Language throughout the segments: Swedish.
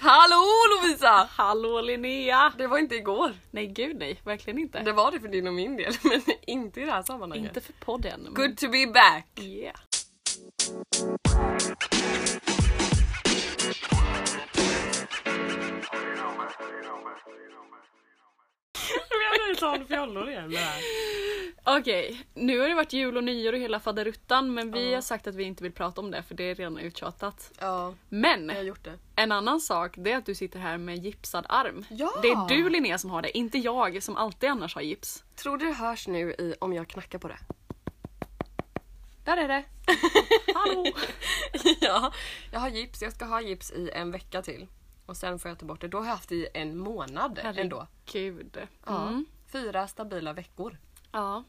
Hallå Lovisa! Hallå Linnea! Det var inte igår. Nej gud nej, verkligen inte. Det var det för din och min del, men inte i det här sammanhanget. Inte för podden. men- Good to be back! Yeah. Jag blir sån fjollor igen Okej, nu har det varit jul och nyår och hela faderuttan men vi Ja. har sagt att vi inte vill prata om det för det är redan uttjatat. Ja, Men jag har gjort det. en annan sak det är att du sitter här med gipsad arm. Ja! Det är du Linnea som har det, inte jag som alltid annars har gips. Tror du det hörs nu i om jag knackar på det? Där är det! Hallå! ja, jag har gips. Jag ska ha gips i en vecka till. Och sen får jag ta bort det. Då har jag haft det i en månad ändå. Herregud. Ja. Mm. Fyra stabila veckor. ja.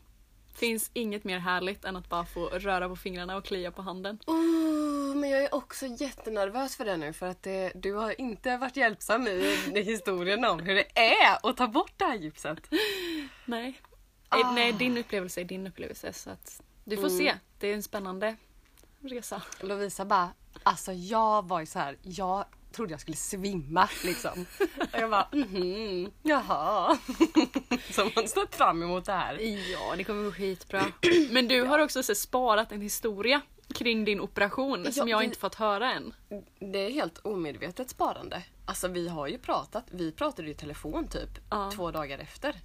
Finns inget mer härligt än att bara få röra på fingrarna och klia på handen. Oh, men jag är också jättenervös för det nu för att det, du har inte varit hjälpsam i, i historien om hur det är att ta bort det här gipset. Nej. Ah. Eh, Nej, din upplevelse är din upplevelse. Så att du får se. Det är en spännande resa. Lovisa bara, alltså jag var ju så här, jag trodde jag skulle svimma liksom. Och jag bara, mhm, jaha. Så man står fram emot det här. Ja, det kommer gå skitbra. Men du har också så, sparat en historia kring din operation som jag vi- inte fått höra än. Det är helt omedvetet sparande. Alltså vi har ju pratat, vi pratade ju i telefon typ Ja. två dagar efter.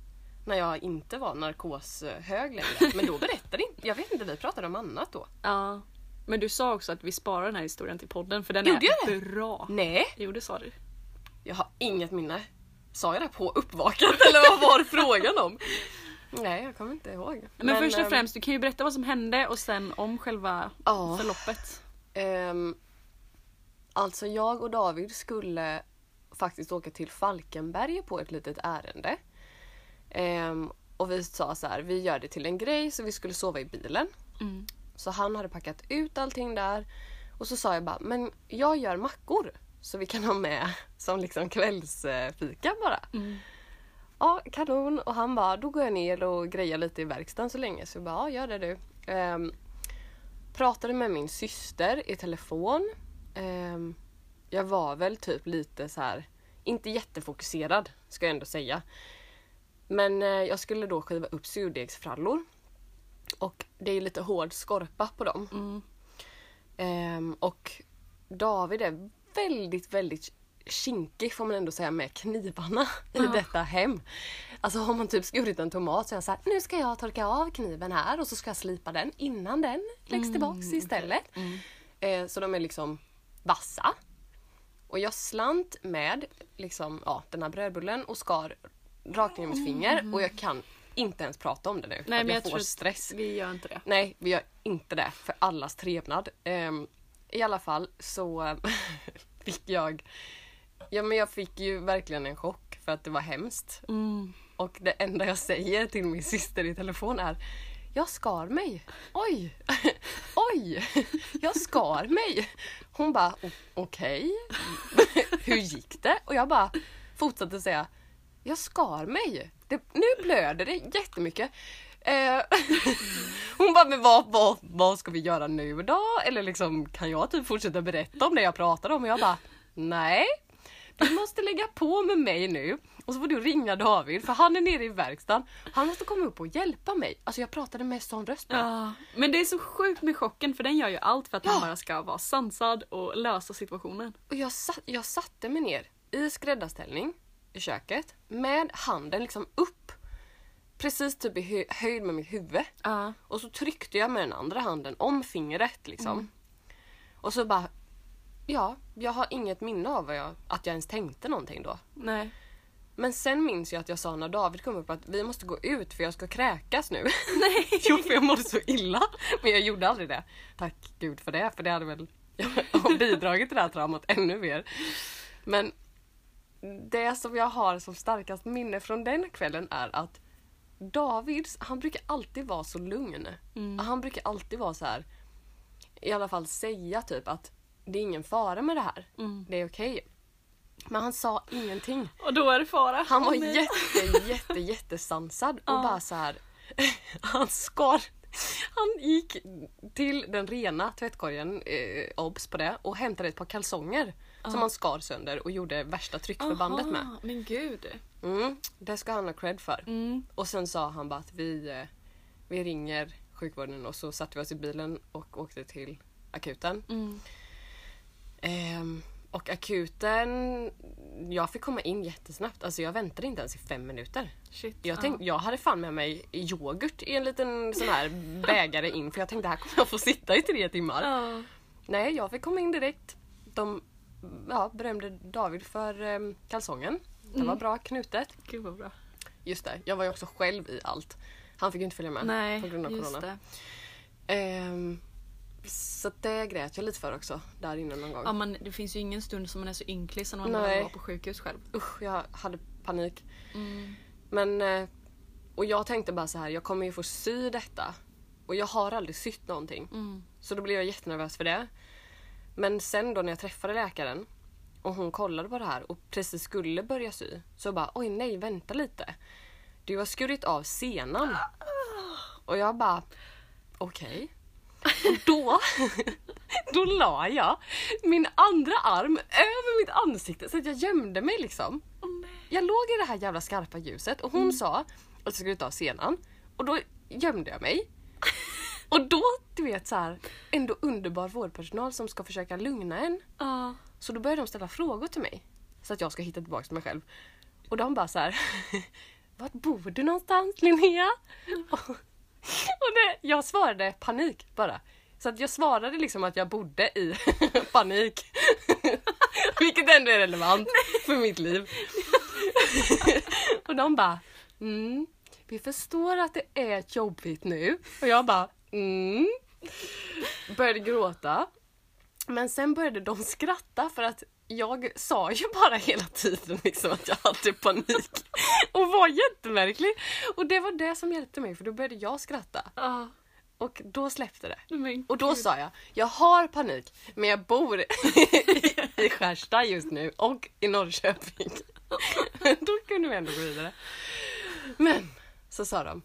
När jag inte var narkoshög längre. Men då berättade inte, jag vet inte, vi pratade om annat då. Ja. Men du sa också att vi sparar den här historien till podden för den Gjorde är jag det? bra. Nej, Jo, det sa du. jag har inget minne. Sa jag det på uppvaket eller vad var frågan om? Nej, jag kommer inte ihåg. Men, först och ehm, främst, du kan ju berätta vad som hände och sen om själva Ja. förloppet. Ehm, alltså jag och David skulle faktiskt åka till Falkenberg på ett litet ärende. Ehm, och vi sa så här, vi gör det till en grej så vi skulle sova i bilen. Mm. Så han hade packat ut allting där. Och så sa jag bara, men jag gör mackor. Så vi kan ha med som liksom kvällsfika bara. Mm. Ja, kanon. Och han bara, då går jag ner och grejar lite i verkstaden så länge. Så jag bara, ja gör det du. Ehm, pratade med min syster i telefon. Ehm, jag var väl typ lite så här, inte jättefokuserad ska jag ändå säga. Men eh, jag skulle då skiva upp surdegsfrallor. Och det är lite hård skorpa på dem. Mm. Ehm, och David är väldigt, väldigt kinkig får man ändå säga med knivarna i detta hem. Alltså har man typ skurit en tomat så är han såhär, nu ska jag torka av kniven här och så ska jag slipa den innan den läggs Mm, tillbaks istället. Eh, så de är liksom vassa. Och jag slant med liksom, ja, den här brödbullen och skar rakt ner mitt finger och jag kan inte ens prata om det nu. för Mm. Nej, att men jag, jag får tror att stress. Vi gör inte det. Nej, vi gör inte det för allas trevnad. Ehm, I alla fall så fick jag... Ja men jag fick ju verkligen en chock för att det var hemskt. Mm. Och det enda jag säger till min syster i telefon är Jag skar mig! Oj! Oj! Jag skar mig! Hon bara "O- okej, hur gick det? Och jag bara fortsatte säga Jag skar mig! Det, nu blöder det jättemycket. Eh, hon bara, men vad, vad, vad ska vi göra nu då? Eller liksom, kan jag typ fortsätta berätta om det jag pratade om? Och jag bara, nej. Du måste lägga på med mig nu och så får du ringa David för han är nere i verkstaden. Han måste komma upp och hjälpa mig. Alltså jag pratade med sån röst. Ja, men det är så sjukt med chocken för den gör ju allt för att Ja. man bara ska vara sansad och lösa situationen. Och jag, satt, jag satte mig ner i skräddarställning i köket med handen liksom upp. Precis typ i hö- höjd med mitt huvud. Ja. Och så tryckte jag med den andra handen om fingret liksom. Och så bara... Ja, jag har inget minne av vad jag, att jag ens tänkte någonting då. Nej. Men sen minns jag att jag sa när David kom upp att vi måste gå ut för jag ska kräkas nu. Nej! jo för jag mådde så illa. Men jag gjorde aldrig det. Tack gud för det, för det hade väl bidragit till det här traumat ännu mer. Men det som jag har som starkast minne från den kvällen är att David, han brukar alltid vara så lugn. Han brukar alltid vara så här i alla fall säga typ att det är ingen fara med det här. Det är okej. Men han sa ingenting. Och då är det fara. Han var Åh, nej. jätte, jätte, jättesansad och Ja. bara så här. Han skar. Han gick till den rena tvättkorgen, eh, obs på det, och hämtade ett par kalsonger. Som han skar sönder och gjorde värsta tryckförbandet med. Aha, Men gud. Mm, det ska han ha cred för. Mm. Och sen sa han bara att vi, eh, vi ringer sjukvården och så satte vi oss i bilen och åkte till akuten. Mm. Ehm, och akuten, jag fick komma in jättesnabbt. Alltså jag väntade inte ens i fem minuter. Shit. Jag, tänkte, jag hade fan med mig yoghurt i en liten sån här bägare in för jag tänkte här kommer jag få sitta i tre timmar. Ja. Nej, jag fick komma in direkt. De ja, berömde David för eh, kalsongen. Det Mm. var bra knutet. Gud vad bra. Just det, jag var ju också själv i allt. Han fick ju inte följa med Nej, på grund av just corona. det. Ehm, så att det grät jag lite för också där inne någon gång. Ja, man, det finns ju ingen stund som man är så ynklig som när man Nej. var på sjukhus själv. Usch, jag hade panik. Mm. Men, eh, och jag tänkte bara så här, jag kommer ju få sy detta. Och jag har aldrig sytt någonting. Mm. Så då blev jag jättenervös för det. Men sen då när jag träffade läkaren och hon kollade på det här och precis skulle börja sy så bara oj nej vänta lite. Du har skurit av senan. Och jag bara okej. Och då, då la jag min andra arm över mitt ansikte så att jag gömde mig liksom. Jag låg i det här jävla skarpa ljuset och hon sa att jag skulle ta senan och då gömde jag mig. Och då, du vet så här, ändå underbar vårdpersonal som ska försöka lugna en. Ja. Så då börjar de ställa frågor till mig. Så att jag ska hitta tillbaka till mig själv. Och de bara så här. Vart bor du någonstans Linnea? Och, och det, jag svarade panik bara. Så att jag svarade liksom att jag bodde i panik. Vilket ändå är relevant för mitt liv. och de bara. Mm, vi förstår att det är jobbigt nu. Och jag bara. Mm. Började gråta. Men sen började de skratta för att jag sa ju bara hela tiden liksom att jag hade panik och var jättemärklig. Och det var det som hjälpte mig för då började jag skratta Ja. och då släppte det. Men Och då sa jag, jag har panik men jag bor i Skärstad just nu och i Norrköping. då kunde vi ändå gå vidare. Men så sa de,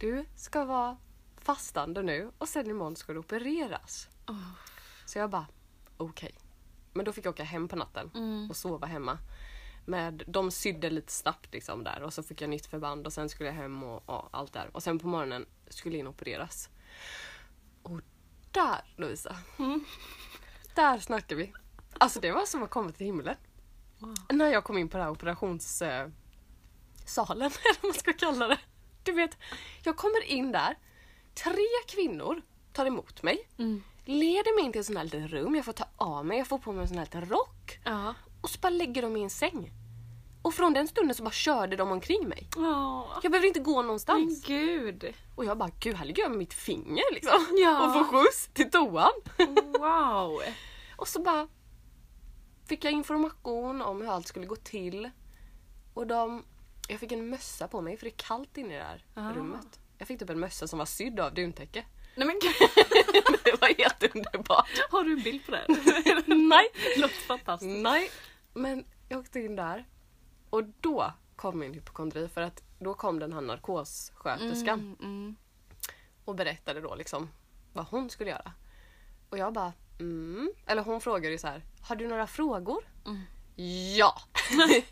du ska vara fastande nu och sen imorgon ska du opereras. Åh. Så jag bara, okej. Men då fick jag åka hem på natten Mm. och sova hemma. Med, de sydde lite snabbt liksom där och så fick jag nytt förband och sen skulle jag hem och, ja, allt där. Och sen på morgonen skulle jag in och opereras. Och där Lovisa! Mm. Där snackar vi! Alltså det var som att komma till himlen. Wow. När jag kom in på den här operationssalen, eh, salen, eller vad man ska kalla det. Du vet, jag kommer in där, tre kvinnor tar emot mig Mm. leder mig in till ett sånt här litet rum. Jag får ta av mig, jag får på mig en sån här liten rock. Ja. Och så bara lägger de mig i en säng. Och från den stunden så bara körde de omkring mig. Ja. Jag behövde inte gå någonstans. Men gud. Och jag bara, gud här ligger jag med mitt finger liksom. Ja. Och får skjuts till toan. Wow. Och så bara fick jag information om hur allt skulle gå till. Och de, jag fick en mössa på mig för det är kallt inne i det här Ah. rummet. Jag fick typ en mössa som var sydd av duntäcke. Nej men gud. det var helt underbart. Har du en bild på det? Nej, Låter fantastiskt. Nej, men jag åkte in där och då kom min hypokondri för att då kom den här narkossköterskan Mm, mm. och berättade då liksom vad hon skulle göra. Och jag bara mm. Eller hon frågade ju så här, har du några frågor? Mm. Ja!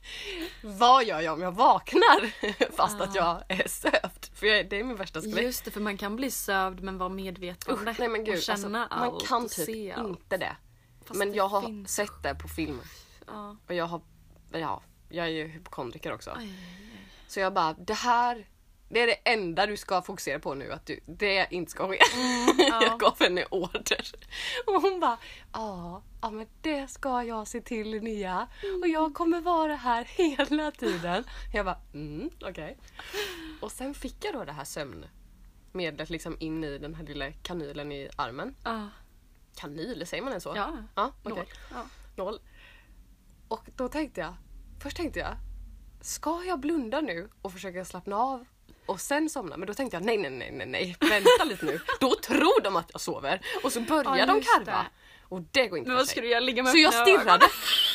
vad gör jag om jag vaknar fast att jag är sövd? För jag, det är min värsta skräck. Ah. Just det, för man kan bli sövd men vara medveten Usch, nej men gud, och känna alltså, allt man kan och typ se allt. inte det. Fast men det jag har finns. sett det på film Ja. och jag har, ja, jag är ju hypokondriker också. Aj, aj, aj. Så jag bara, det här det är det enda du ska fokusera på nu, att du, det inte ska ske. Mm, ja. jag gav henne order. Och hon bara, ja, ja men det ska jag se till Linnea. Och Mm. jag kommer vara här hela tiden. Jag bara, mm, okej. Och sen fick jag då det här sömnmedlet liksom in i den här lilla kanylen i armen. Ja. Kanyl, säger man än så? Ja. ja okej. Nål. Ja. Noll. Och då tänkte jag, först tänkte jag, ska jag blunda nu och försöka slappna av och sen somna? Men då tänkte jag nej, nej, nej, nej, nej, vänta lite nu. Då tror de att jag sover och så börjar Ja, de just karva. Och det går inte Men för vad sig. ska du göra? Ligga med Så jag öppna stirrade.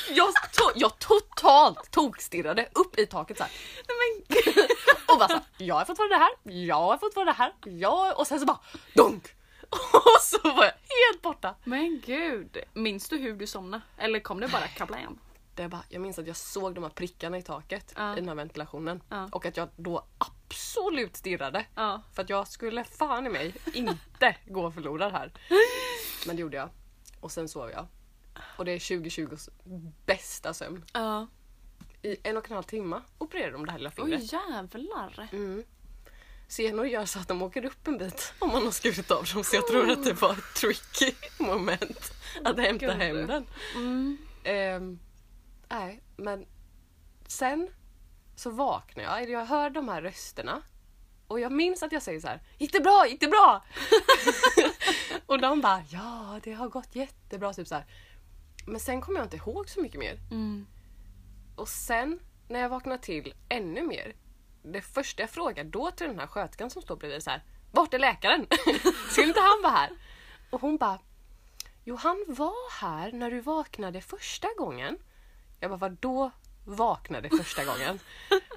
Jag, to- jag totalt tokstirrade upp i taket så här. Nej, men gud. Och bara så här, jag är fortfarande här, jag är fortfarande här, jag är... Och sen så bara dunk! Och så var jag helt borta. Men gud! Minns du hur du somnade? Eller kom det bara kablam? Det är bara, jag minns att jag såg de här prickarna i taket Ja. i den här ventilationen. Ja. Och att jag då absolut stirrade. Ja. För att jag skulle fan i mig inte gå förlorad här. Men det gjorde jag. Och sen sov jag. Och det är 2020s bästa sömn. Ja. I en och en halv timme opererade de det här lilla fingret. Oj jävlar! Mm. Senor gör så att de åker upp en bit om man har skurit av dem så jag tror att det var ett tricky moment att hämta Gud. hem den. Mm. Ehm, nej, men sen så vaknar jag. Jag hör de här rösterna. Och jag minns att jag säger så här. Gick det bra? Gick det bra? och de bara ja, det har gått jättebra. Typ så här. Men sen kommer jag inte ihåg så mycket mer. Mm. Och sen när jag vaknar till ännu mer. Det första jag frågar då till den här sköterskan som står bredvid är så här. Vart är läkaren? Skulle inte han vara här? Och hon bara. Jo han var här när du vaknade första gången. Jag bara då vaknade första gången?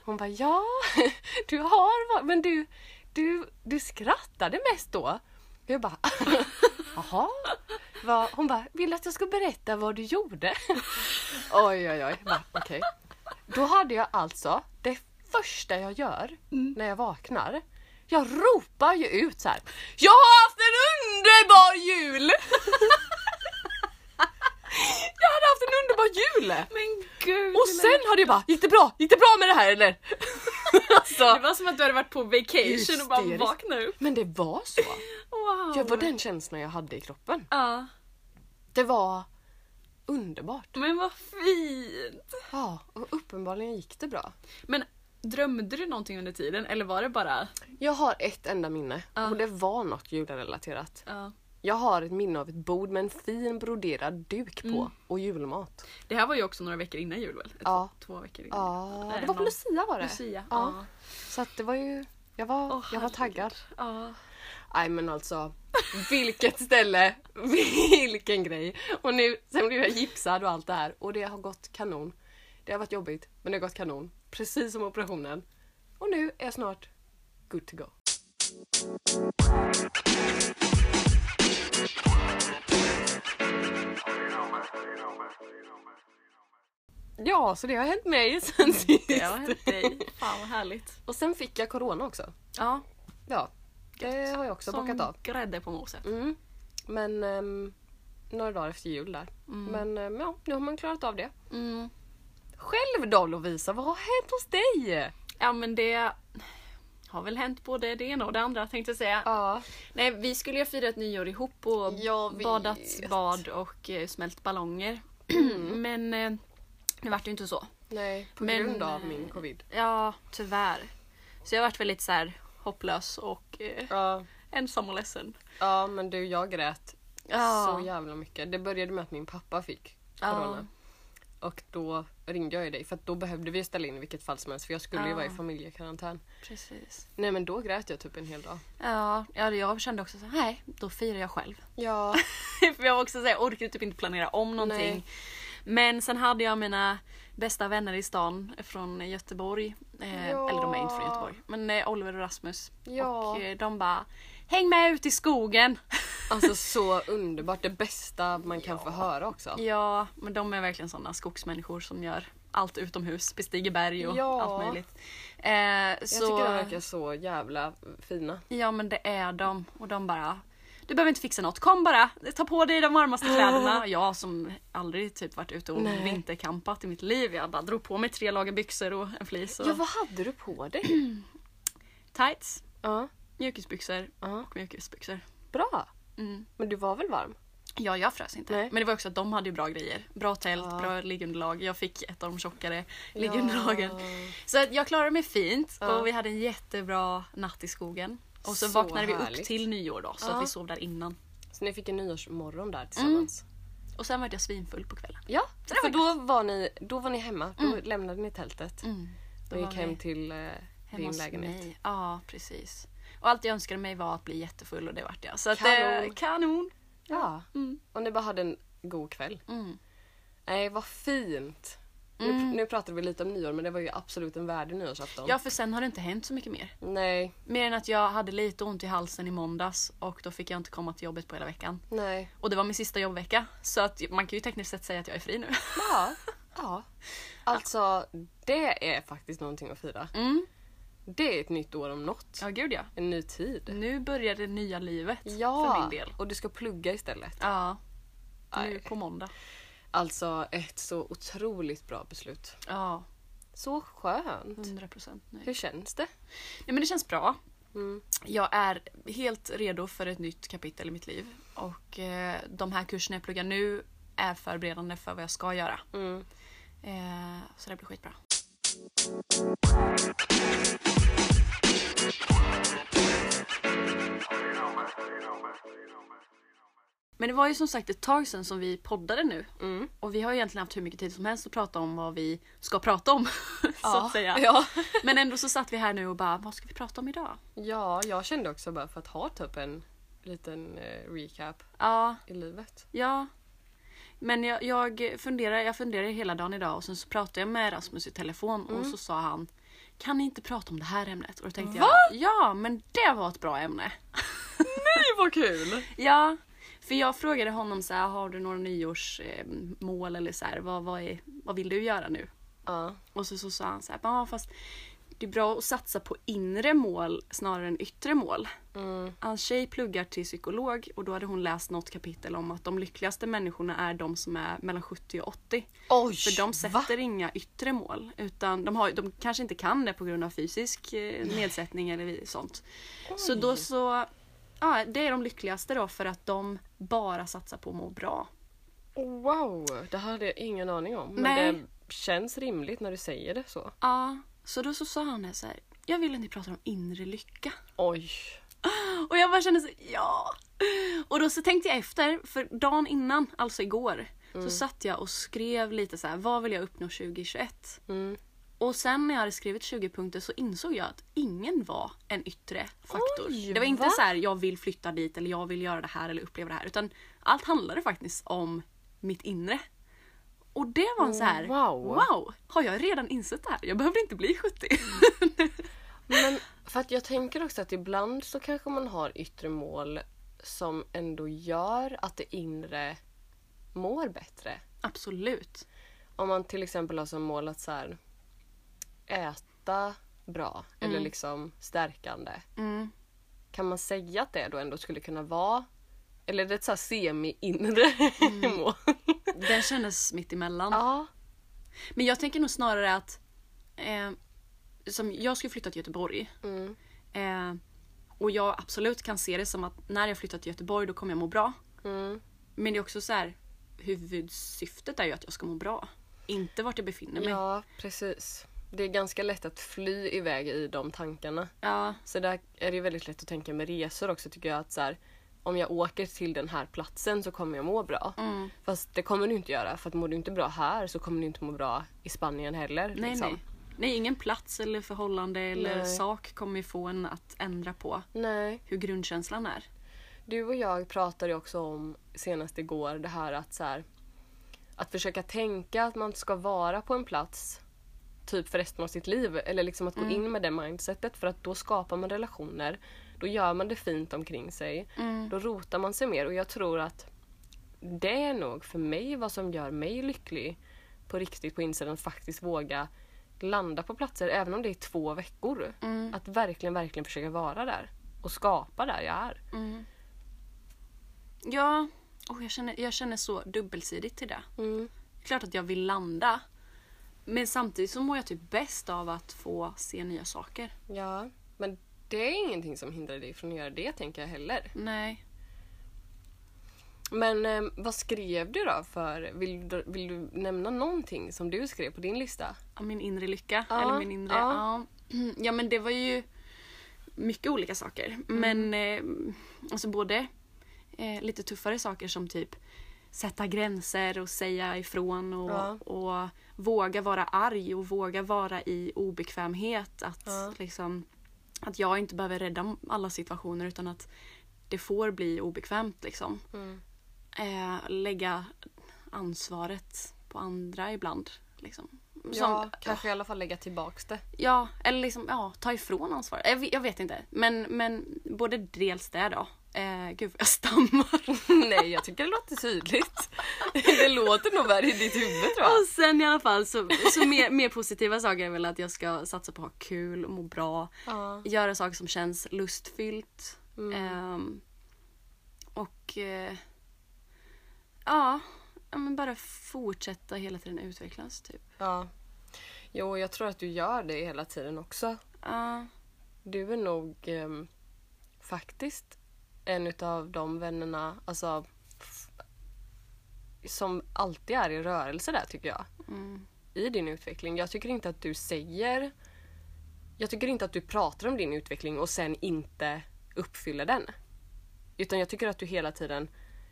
Hon bara ja, du har va- men du, du, du skrattade mest då. Jag bara jaha? Vad- Hon bara vill du att jag ska berätta vad du gjorde? Oj, oj, oj. Va, Okej. Då hade jag alltså, det första jag gör när jag vaknar, jag ropar ju ut så här. Jag har haft en underbar jul! jag hade haft en underbar jul! Men gud! Och lilla- sen hade jag bara, gick det bra? Gick det bra med det här eller? Det alltså, var som att du hade varit på vacation och bara Hysteriskt. vaknade upp. men det var så. Wow! Det var den känslan jag hade i kroppen. Ja. Det var underbart. Men vad fint! Ja, och uppenbarligen gick det bra. Men drömde du någonting under tiden eller var det bara... Jag har ett enda minne Ja. och det var något julrelaterat. Ja. Jag har ett minne av ett bord med en fin broderad duk på Mm. och julmat. Det här var ju också några veckor innan jul väl? Ett- Ja. Två veckor innan. Ja, Nej, det var på någon- Lucia var det. Lucia. Ja. Ja. Så att det var ju, jag var, Åh, jag var herregud. taggad. Ja. Nej men alltså, vilket ställe, vilken grej. Och nu, sen blev jag gipsad och allt det här och det har gått kanon. Det har varit jobbigt men det har gått kanon. Precis som operationen. Och nu är jag snart good to go. Ja, så det har hänt mig sen sist. Det har hänt dig. Fan vad härligt. Och sen fick jag corona också. Ja. Ja, det har jag också Som bockat av. grädde på moset. Mm. Men ehm, några dagar efter jul där. Men ehm, ja, nu har man klarat av det. Mm. Själv då Lovisa, vad har hänt hos dig? Ja men det har väl hänt både det ena och det andra tänkte jag säga. Ja, Nej vi skulle ju fira ett nyår ihop och Jag vet. badat bad och eh, smält ballonger. men eh, det vart ju inte så. nej, på Men, grund av eh, min covid. Ja tyvärr. Så jag vart väl lite så här hopplös och eh, Ja. ensam och ledsen. ja, men du jag grät Ja. så jävla mycket. Det började med att min pappa fick Ja. corona. Och då ringde jag ju dig för att då behövde vi ställa in i vilket fall som helst för jag skulle ju Ja. vara i familjekarantän. Precis. Nej men då grät jag typ en hel dag. Ja, ja, jag kände också så här, nej då firar jag själv. Ja. För jag var också såhär, jag orkade typ inte planera om någonting. Nej. Men sen hade jag mina bästa vänner i stan från Göteborg. Eh, Ja. Eller de är inte från Göteborg. Men eh, Oliver och Rasmus. Ja. Och eh, de bara Häng med ut i skogen! Alltså så underbart. Det bästa man kan få höra också. ja, men de är verkligen sådana skogsmänniskor som gör allt utomhus. Bestiger berg och Ja. allt möjligt. Eh, Jag så, tycker de verkar så jävla fina. Ja men det är de. Och de bara Du behöver inte fixa något, kom bara! Ta på dig de varmaste kläderna. Jag som aldrig typ varit ute och Nej. vinterkampat i mitt liv. Jag bara drog på mig tre lager byxor och en fleece och Ja, vad hade du på dig? tights, Ja, mjukisbyxor Ja. och mjukisbyxor. bra. Mm. Men du var väl varm? Ja, jag frös inte. Nej. Men det var också att de hade ju bra grejer. Bra tält, Ja. bra liggunderlag. Jag fick ett av de tjockare liggunderlagen. Så att jag klarade mig fint Ja. och vi hade en jättebra natt i skogen. Och så, Så vaknade vi upp härligt. till nyår då, så Ja. att vi sov där innan. Så ni fick en nyårsmorgon där tillsammans? Och sen var jag svinfull på kvällen. Mm. Ja, Så det för var då var Mm. ni, då var ni hemma. Då lämnade ni tältet Då och var Mm. gick vi hem till eh, hemma din hos lägenhet. mig. Ja, precis. Och allt jag önskade mig var att bli jättefull och det vart jag. Så att, Kanon. eh, kanon! Ja. Mm. Och ni bara hade en god kväll. Mm. Nej, vad fint. Nu, nu pratade vi lite om nyår men det var ju absolut en värdig nyårsafton. Ja för sen har det inte hänt så mycket mer. Nej, Mer än att jag hade lite ont i halsen i måndags och då fick jag inte komma till jobbet på hela veckan. nej. Och det var min sista jobbvecka så att man kan ju tekniskt sett säga att jag är fri nu. Ja. ja. Alltså det är faktiskt någonting att fira. Mm. Det är ett nytt år om något. Ja gud ja. En ny tid. Nu börjar det nya livet Ja, för min del. och du ska plugga istället. Ja. Nu Nej. på måndag. Alltså ett så otroligt bra beslut. Mm. Ja, Så skönt. 100% nöjd. Hur känns det? Nej men det känns bra. Mm. Jag är helt redo för ett nytt kapitel i mitt liv. Och eh, de här kurserna jag pluggar nu är förberedande för vad jag ska göra. Mm. Eh, så det blir skitbra. Men det var ju som sagt ett tag sedan som vi poddade nu. Mm. Och vi har ju egentligen haft hur mycket tid som helst att prata om vad vi ska prata om. så att säga. Ja. Men ändå så satt vi här nu och bara, vad ska vi prata om idag? ja, jag kände också bara för att ha typ en liten eh, recap Ja, i livet. ja. Men jag, jag funderar jag funderar hela dagen idag och sen så pratade jag med Rasmus i telefon och så sa han Kan ni inte prata om det här ämnet? Och då tänkte jag Ja men det var ett bra ämne. Nej vad kul! Ja, för jag frågade honom så här, har du några nyårsmål eller så här, vad, vad, är, vad vill du göra nu? Ja. Och så, så sa han så här, ja fast det är bra att satsa på inre mål snarare än yttre mål. Mm. Hans tjej pluggar till psykolog och då hade hon läst något kapitel om att de lyckligaste människorna är de som är mellan 70 och 80. Oj! För de sätter inga yttre mål. Utan de, har, de kanske inte kan det på grund av fysisk eh, nedsättning eller vi- sånt. Så då så, ja det är de lyckligaste då för att de bara satsar på att må bra. Wow! Det hade jag ingen aning om. Men Nej. det känns rimligt när du säger det så. Ja, så då så sa han det så här, jag vill att ni pratar om inre lycka. Oj! Och jag bara kände så, ja. Och då så tänkte jag efter, för dagen innan, alltså igår, Mm. så satt jag och skrev lite så här, vad vill jag uppnå 2021? Mm. Och sen när jag hade skrivit 20 punkter så insåg jag att ingen var en yttre faktor. Oj, det var inte va? så här, jag vill flytta dit eller jag vill göra det här eller uppleva det här. Utan allt handlade faktiskt om mitt inre. Och det var en så här, Wow. wow, har jag redan insett det här? Jag behöver inte bli 70. Men för att jag tänker också att ibland så kanske man har yttre mål som ändå gör att det inre mår bättre. Absolut. Om man till exempel har som mål att så här, äta bra eller liksom stärkande. Mm. Kan man säga att det då ändå skulle kunna vara eller är det ett så här semi-inre mål? Den kändes mitt emellan. Ja. Men jag tänker nog snarare att eh, som jag skulle flytta till Göteborg. Mm. Eh, och jag absolut kan se det som att när jag flyttar till Göteborg då kommer jag må bra. Mm. Men det är också så här, huvudsyftet är ju att jag ska må bra. Inte vart jag befinner mig. Ja. ja, precis. Det är ganska lätt att fly iväg i de tankarna. Ja, Så där är det ju väldigt lätt att tänka med resor också tycker jag att så här, om jag åker till den här platsen så kommer jag må bra. Mm. Fast det kommer du inte göra för att mår du inte bra här så kommer du inte må bra i Spanien heller. nej, liksom. nej. Nej, ingen plats eller förhållande eller Nej. sak kommer ju få en att ändra på nej. hur grundkänslan är. Du och jag pratade ju också om senast igår det här att så här, att försöka tänka att man ska vara på en plats typ för resten av sitt liv. Eller liksom att gå in med det mindsetet för att då skapar man relationer. Då gör man det fint omkring sig. Då rotar man sig mer och jag tror att det är nog för mig vad som gör mig lycklig på riktigt på insidan. Att faktiskt våga landa på platser även om det är två veckor. Att verkligen, verkligen försöka vara där och skapa där jag är. Ja, oh, jag, känner, jag känner så dubbelsidigt till det. Mm. Klart att jag vill landa. Men samtidigt så mår jag typ bäst av att få se nya saker. Ja, men det är ingenting som hindrar dig från att göra det tänker jag heller. Nej. Men eh, vad skrev du då för? Vill du, vill du nämna någonting som du skrev på din lista? Ja, Min inre lycka. Ja, eller min inre... Ja. ja. ja men det var ju mycket olika saker. Mm. Men eh, alltså både eh, lite tuffare saker som typ sätta gränser och säga ifrån och, Ja. och våga vara arg och våga vara i obekvämhet. Att, Ja. liksom, att jag inte behöver rädda alla situationer utan att det får bli obekvämt. Liksom. Mm. Eh, lägga ansvaret på andra ibland. Liksom. Ja, kanske i alla fall lägga tillbaks det. Ja, eller liksom ja, ta ifrån ansvaret. Jag vet, jag vet inte. Men, men både dels det då. Eh, gud vad jag stammar. Nej, jag tycker det låter tydligt. det låter nog värre i ditt huvud tror jag. Och sen i alla fall så, så mer, mer positiva saker är väl att jag ska satsa på att ha kul, må bra. Ja. Göra saker som känns lustfyllt. Ehm, och eh, ja, ja, men bara fortsätta hela tiden utvecklas typ. ja. Jo, jag tror att du gör det hela tiden också. Ja, Du är nog ehm, faktiskt en utav de vännerna alltså, f- som alltid är i rörelse där tycker jag. mm, I din utveckling. Jag tycker inte att du säger... Jag tycker inte att du pratar om din utveckling och sen inte uppfyller den. Utan jag tycker att du hela tiden...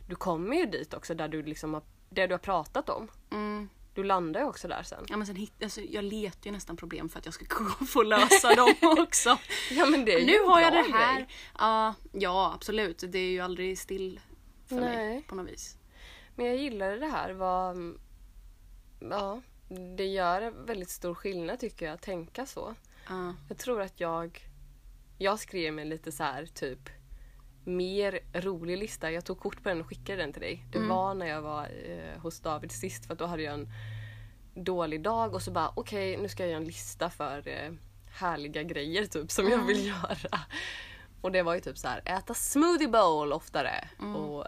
Du kommer ju dit också där du liksom har, det du har pratat om. mm. Du landar ju också där sen. Ja, men sen hitt, alltså, jag letar ju nästan problem för att jag ska kunna få lösa dem också. Ja men det är ju nu en har jag bra det här. grej. Ja, ja, absolut. Det är ju aldrig still för Nej. mig på något vis. Men jag gillade det här. Vad, ja, det gör en väldigt stor skillnad tycker jag att tänka så. Ja. Jag tror att jag... Jag skrev mig lite så här typ mer rolig lista. Jag tog kort på den och skickade den till dig. Det var när jag var eh, hos David sist för att då hade jag en dålig dag och så bara okej nu ska jag göra en lista för eh, härliga grejer typ som jag vill göra. Och det var ju typ så här äta smoothie bowl oftare. Och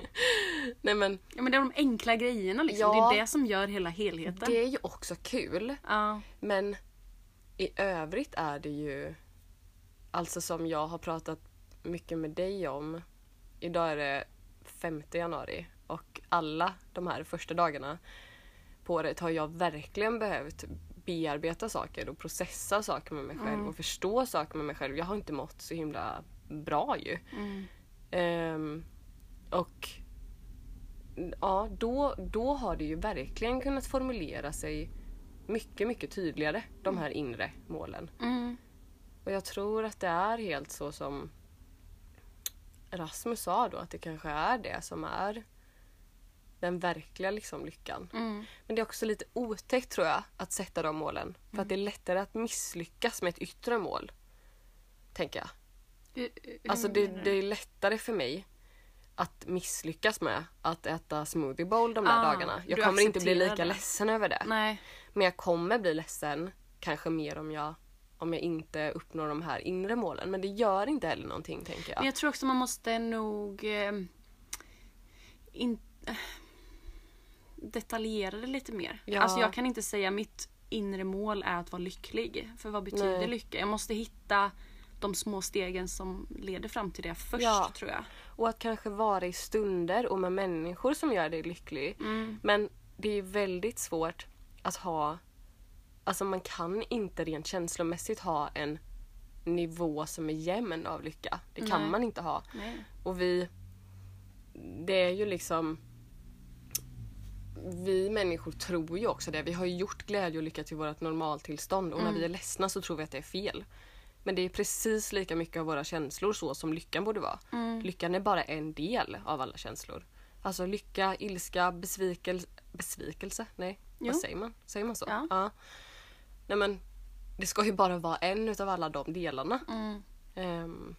Nej men ja, men det är de enkla grejerna liksom. Ja. Det är det som gör hela helheten. det är ju också kul. Ja. Men i övrigt är det ju, alltså som jag har pratat mycket med dig om. Idag är det 5 januari och alla de här första dagarna på året har jag verkligen behövt bearbeta saker och processa saker med mig själv och förstå saker med mig själv. Jag har inte mått så himla bra ju. Ehm, och ja, då, då har det ju verkligen kunnat formulera sig mycket, mycket tydligare, de här inre målen. Mm. Och jag tror att det är helt så som Rasmus sa då, att det kanske är det som är den verkliga liksom lyckan. Mm. Men det är också lite otäckt tror jag, att sätta de målen. För att det är lättare att misslyckas med ett yttre mål. Tänker jag. Hur- hur Alltså det, menar det du? är lättare för mig att misslyckas med att äta smoothie bowl de där Ah, dagarna. Jag du kommer inte bli accepterar lika det. ledsen över det. Nej. Men jag kommer bli ledsen, kanske mer om jag, om jag inte uppnår de här inre målen. Men det gör inte heller någonting tänker jag. Men jag tror också man måste nog eh, in, eh, detaljera det lite mer. Ja. Alltså jag kan inte säga mitt inre mål är att vara lycklig. För vad betyder Nej. lycka? Jag måste hitta de små stegen som leder fram till det först Ja. tror jag. Och att kanske vara i stunder och med människor som gör dig lycklig. Mm. Men det är väldigt svårt att ha... Alltså man kan inte rent känslomässigt ha en nivå som är jämn av lycka. Det kan Nej. man inte ha. Nej. Och vi... Det är ju liksom... Vi människor tror ju också det. Vi har ju gjort glädje och lycka till vårt normaltillstånd och Mm. när vi är ledsna så tror vi att det är fel. Men det är precis lika mycket av våra känslor så som lyckan borde vara. Mm. Lyckan är bara en del av alla känslor. Alltså lycka, ilska, besvikelse... Besvikelse? Nej, Jo. vad säger man? Säger man så? Ja. Nej men, det ska ju bara vara en utav alla de delarna. Mm. Ehm,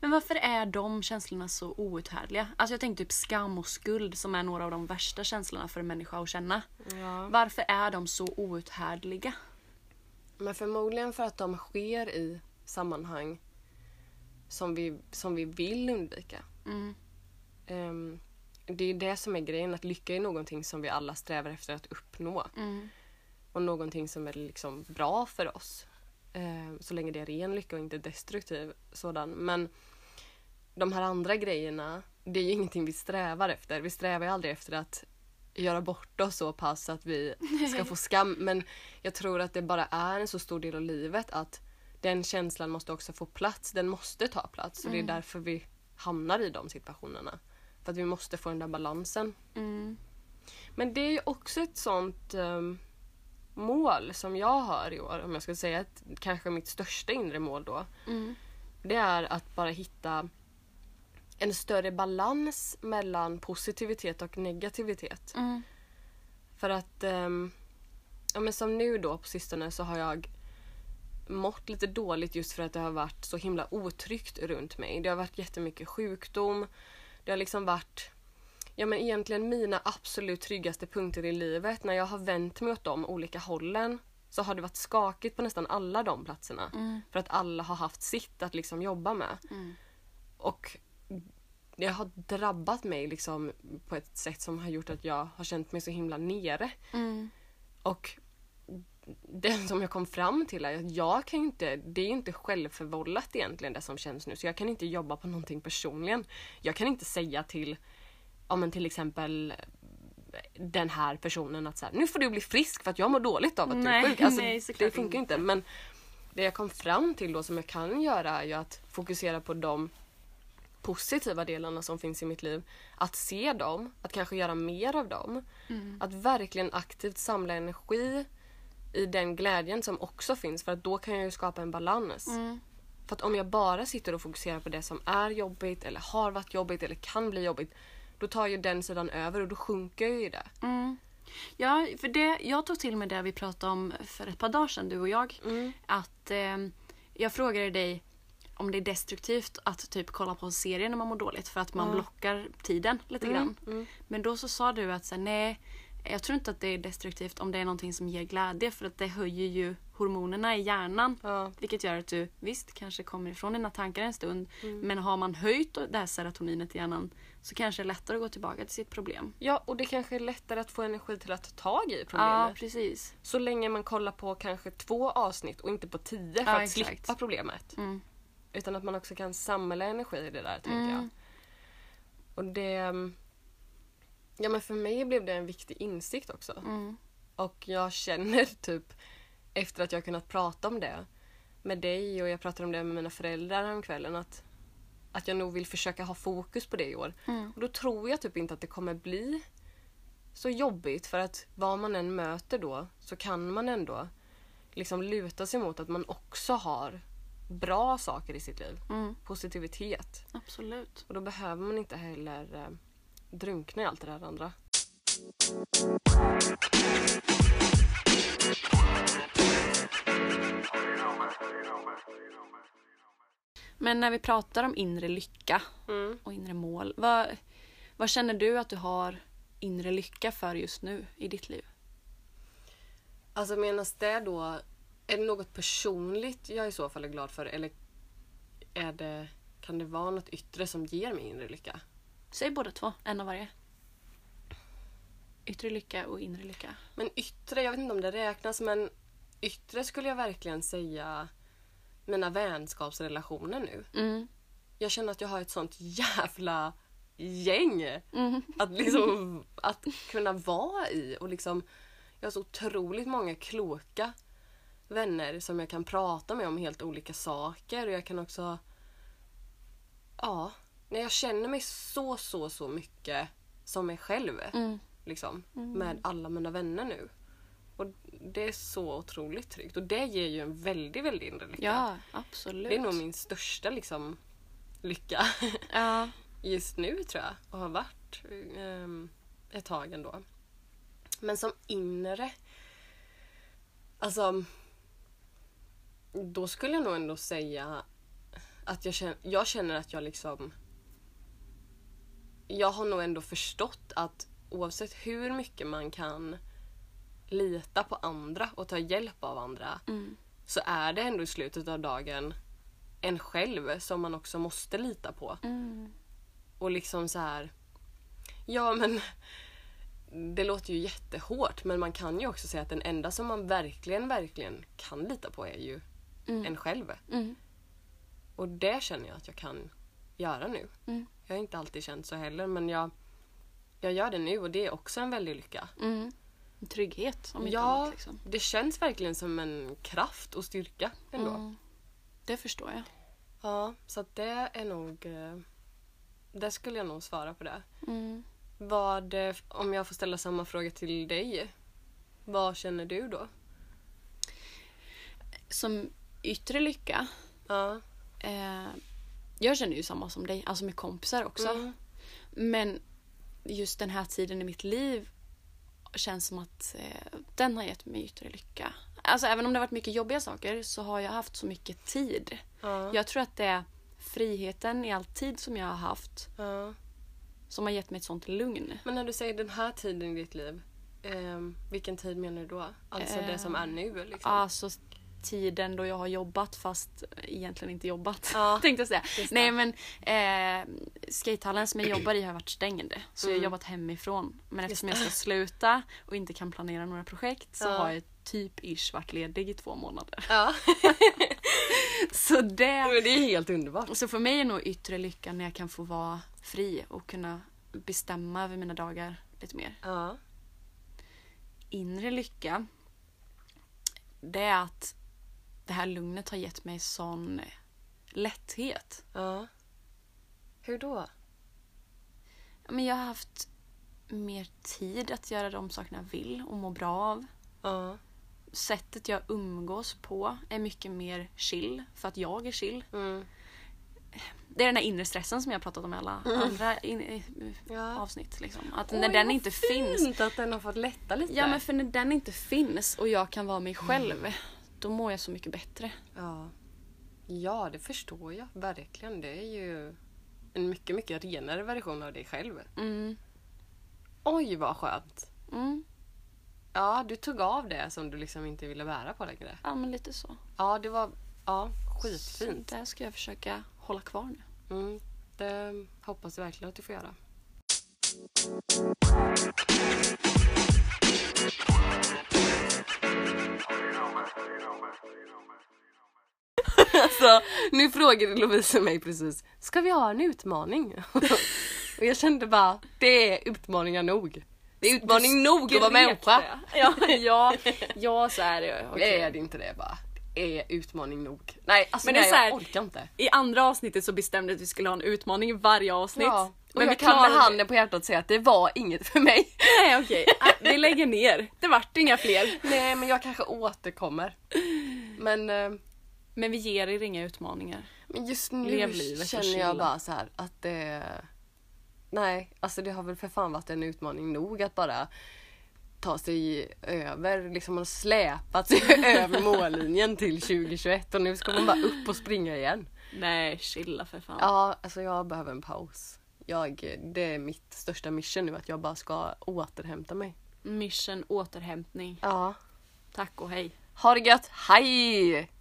Men varför är de känslorna så outhärdliga? Alltså jag tänker typ skam och skuld som är några av de värsta känslorna för en människa att känna. ja. Varför är de så outhärdliga? Men förmodligen för att de sker i sammanhang som vi, som vi vill undvika. Mm. Ehm, det är det som är grejen, att lycka är någonting som vi alla strävar efter att uppnå. Mm. Och någonting som är liksom bra för oss. Ehm, så länge det är ren lycka och inte destruktiv sådan. Men de här andra grejerna, det är ju ingenting vi strävar efter. Vi strävar ju aldrig efter att göra bort oss så pass att vi ska få skam. Men jag tror att det bara är en så stor del av livet att den känslan måste också få plats. Den måste ta plats. Och det är därför vi hamnar i de situationerna. För att vi måste få den där balansen. Mm. Men det är ju också ett sånt ehm, mål som jag har i år, om jag skulle säga att kanske mitt största inre mål då. Mm. Det är att bara hitta en större balans mellan positivitet och negativitet. Mm. För att ehm, ja, men som nu då på sistone så har jag mått lite dåligt just för att det har varit så himla otryggt runt mig. Det har varit jättemycket sjukdom. Det har liksom varit ja, men egentligen mina absolut tryggaste punkter i livet. När jag har vänt mig åt de olika hållen så har det varit skakigt på nästan alla de platserna. För att alla har haft sitt att liksom jobba med. Och det har drabbat mig liksom på ett sätt som har gjort att jag har känt mig så himla nere. Mm. Och det som jag kom fram till är att jag kan ju inte, det är ju inte självförvållat egentligen det som känns nu. Så jag kan inte jobba på någonting personligen. Jag kan inte säga till, ja men till exempel den här personen att så här, nu får du bli frisk för att jag mår dåligt av att Nej, du är sjuk. Alltså, nej, det såklart funkar ju inte. Men det jag kom fram till då som jag kan göra är ju att fokusera på de positiva delarna som finns i mitt liv. Att se dem, att kanske göra mer av dem. Att verkligen aktivt samla energi i den glädjen som också finns för att då kan jag ju skapa en balans. För att om jag bara sitter och fokuserar på det som är jobbigt eller har varit jobbigt eller kan bli jobbigt då tar ju den sidan över och då sjunker jag ju i det. Mm. Ja, för det, jag tog till mig det vi pratade om för ett par dagar sedan, du och jag. Att eh, jag frågade dig om det är destruktivt att typ kolla på en serie när man mår dåligt för att man blockar tiden lite grann. Men då så sa du att så här, nej, jag tror inte att det är destruktivt om det är någonting som ger glädje för att det höjer ju hormonerna i hjärnan. Ja. Vilket gör att du visst kanske kommer ifrån dina tankar en stund men har man höjt det här serotoninet i hjärnan så kanske det är lättare att gå tillbaka till sitt problem. Ja, och det kanske är lättare att få energi till att ta tag i Ja, problemet. precis. Så länge man kollar på kanske två avsnitt och inte på tio för Ja, att exakt. slippa problemet. Mm. Utan att man också kan samla energi i det där tänker jag. Och det... mm, Ja men för mig blev det en viktig insikt också. Mm. Och jag känner typ efter att jag kunnat prata om det med dig och jag pratade om det med mina föräldrar häromkvällen att, att jag nog vill försöka ha fokus på det i år. Mm. Och då tror jag typ inte att det kommer bli så jobbigt för att vad man än möter då så kan man ändå liksom luta sig mot att man också har bra saker i sitt liv. Positivitet. Absolut. Och då behöver man inte heller eh, drunkna i allt det där andra. Men när vi pratar om inre lycka Mm. och inre mål. Vad, vad känner du att du har inre lycka för just nu i ditt liv? Alltså menas det då, är det något personligt jag i så fall är glad för eller är det, kan det vara något yttre som ger mig inre lycka? Säg båda två, en av varje. Yttre lycka och inre lycka. Men yttre, jag vet inte om det räknas men yttre skulle jag verkligen säga mina vänskapsrelationer nu. Mm. Jag känner att jag har ett sånt jävla gäng att, liksom, att kunna vara i och liksom jag har så otroligt många kloka vänner som jag kan prata med om helt olika saker och jag kan också ja, när jag känner mig så så så mycket som mig själv Mm. liksom med alla mina vänner nu. Och det är så otroligt tryggt och det ger ju en väldigt väldigt inre lycka. Ja, absolut. Det är nog min största liksom, lycka Ja. just nu tror jag och har varit ehm, ett tag ändå. Men som inre, alltså då skulle jag nog ändå säga att jag känner, jag känner att jag liksom jag har nog ändå förstått att oavsett hur mycket man kan lita på andra och ta hjälp av andra Mm, så är det ändå i slutet av dagen en själv som man också måste lita på. mm, Och liksom så här. Ja men. Det låter ju jättehårt men man kan ju också säga att den enda som man verkligen, verkligen kan lita på är ju en själv. Mm. Och det känner jag att jag kan göra nu. Mm. Jag har inte alltid känt så heller men jag, jag gör det nu och det är också en väldig lycka. Mm. Trygghet om inte ja, annat. Liksom. det känns verkligen som en kraft och styrka ändå. Mm. Det förstår jag. Ja, så att det är nog... eh, Där skulle jag nog svara på det. Mm. Vad, eh, om jag får ställa samma fråga till dig. Vad känner du då? Som yttre lycka Ja. Eh, jag känner ju samma som dig, alltså med kompisar också. Mm. Men just den här tiden i mitt liv känns som att eh, den har gett mig yttre lycka. Alltså även om det har varit mycket jobbiga saker så har jag haft så mycket tid. Ja. Jag tror att det är friheten i all tid som jag har haft Ja. som har gett mig ett sånt lugn. Men när du säger den här tiden i ditt liv, ehm, vilken tid menar du då? Alltså det som är nu liksom? Alltså tiden då jag har jobbat fast egentligen inte jobbat. Ja. Tänkte jag säga. Just det. Nej men eh, skatehallen som jag jobbar i har varit stängd. Så jag har Mm. jobbat hemifrån. Men eftersom jag det. ska sluta och inte kan planera några projekt så Ja. har jag typ ish varit ledig i två månader. Ja. Så det... Men det är helt underbart. Så för mig är nog yttre lyckan när jag kan få vara fri och kunna bestämma över mina dagar lite mer. Ja. inre lycka det är att det här lugnet har gett mig sån lätthet. ja. Hur då? Ja, Men jag har haft mer tid att göra de sakerna jag vill och må bra av. Ja. Sättet jag umgås på är mycket mer chill, för att jag är chill. Mm. Det är den här inre stressen som jag har pratat om i alla andra in, i- Mm. Ja. avsnitt. Liksom. Att när den inte finns Fint att den har fått lätta lite. Ja men för när den inte finns och jag kan vara mig själv, Mm. då mår jag så mycket bättre. ja. ja, det förstår jag verkligen. Det är ju en mycket, mycket renare version av dig själv. Mm. Oj, vad skönt. Mm. Ja, du tog av det som du liksom inte ville bära på längre. Ja men lite så. Ja, det var ja, skitfint. Så där ska jag försöka hålla kvar nu. Mm, det hoppas jag verkligen att du får göra. Alltså, nu frågade Lovisa mig precis, ska vi ha en utmaning? Och jag kände bara, det är utmaningar nog. Det är utmaning nog att vara människa. Ja, ja, ja så är det. Nej, okej. är det inte det bara. Det är utmaning nog. Nej, alltså Men det är nej, så här- jag orkar inte. I andra avsnittet så bestämde vi att vi skulle ha en utmaning i varje avsnitt. Ja, men men vi jag kan med klarade det. handen på hjärtat säga att det var inget för mig. Nej okej, Ah, vi lägger ner. Det vart inga fler. Nej, men jag kanske återkommer. Men, eh, Men vi ger er inga utmaningar. men just nu Lev livet och känner chilla. jag bara så här att det... Nej, alltså det har väl för fan varit en utmaning nog att bara ta sig över, liksom man släpat sig över mållinjen till 2021 och nu ska man bara upp och springa igen. Nej, chilla för fan. Ja, alltså jag behöver en paus. Jag, det är mitt största mission nu att jag bara ska återhämta mig. Mission återhämtning. Ja. Tack och hej. Ha det gött, hej!